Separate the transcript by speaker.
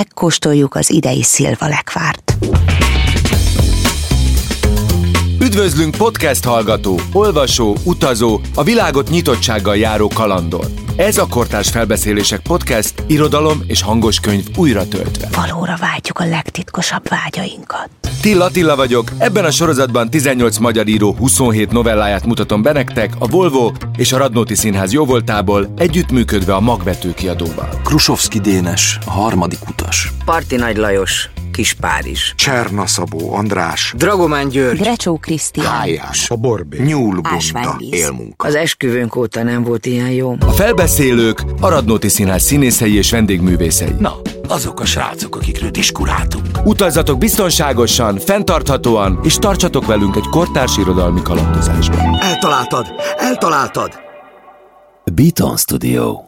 Speaker 1: megkóstoljuk az idei szilvalekvárt.
Speaker 2: Üdvözlünk podcast hallgató, olvasó, utazó, a világot nyitottsággal járó kalandor. Ez a Kortárs Felbeszélések Podcast, irodalom és hangos könyv újra töltve.
Speaker 1: Valóra vágyjuk a legtitkosabb vágyainkat.
Speaker 2: Tilla Attila vagyok, ebben a sorozatban 18 magyar író 27 novelláját mutatom be nektek a Volvo és a Radnóti Színház jóvoltából, együttműködve a Magvető kiadóval.
Speaker 3: Krusovszki Dénes, a harmadik utas.
Speaker 4: Parti Nagy Lajos, Kis Párizs.
Speaker 5: Cserna Szabó András,
Speaker 4: Dragomán György,
Speaker 1: Grecsó Krisztián,
Speaker 5: Ájás, a Borbé, Nyúlbunda,
Speaker 1: Ásványvíz.
Speaker 5: Élmunka.
Speaker 4: az esküvőnk óta nem volt ilyen jó.
Speaker 2: A felbeszélők a Radnóti Színház színészei és vendégművészei.
Speaker 3: Na, azok a srácok, akikről diskuráltunk.
Speaker 2: Utazzatok biztonságosan, fenntarthatóan, és tartsatok velünk egy kortárs irodalmi kalandozásban.
Speaker 3: Beaton Studio.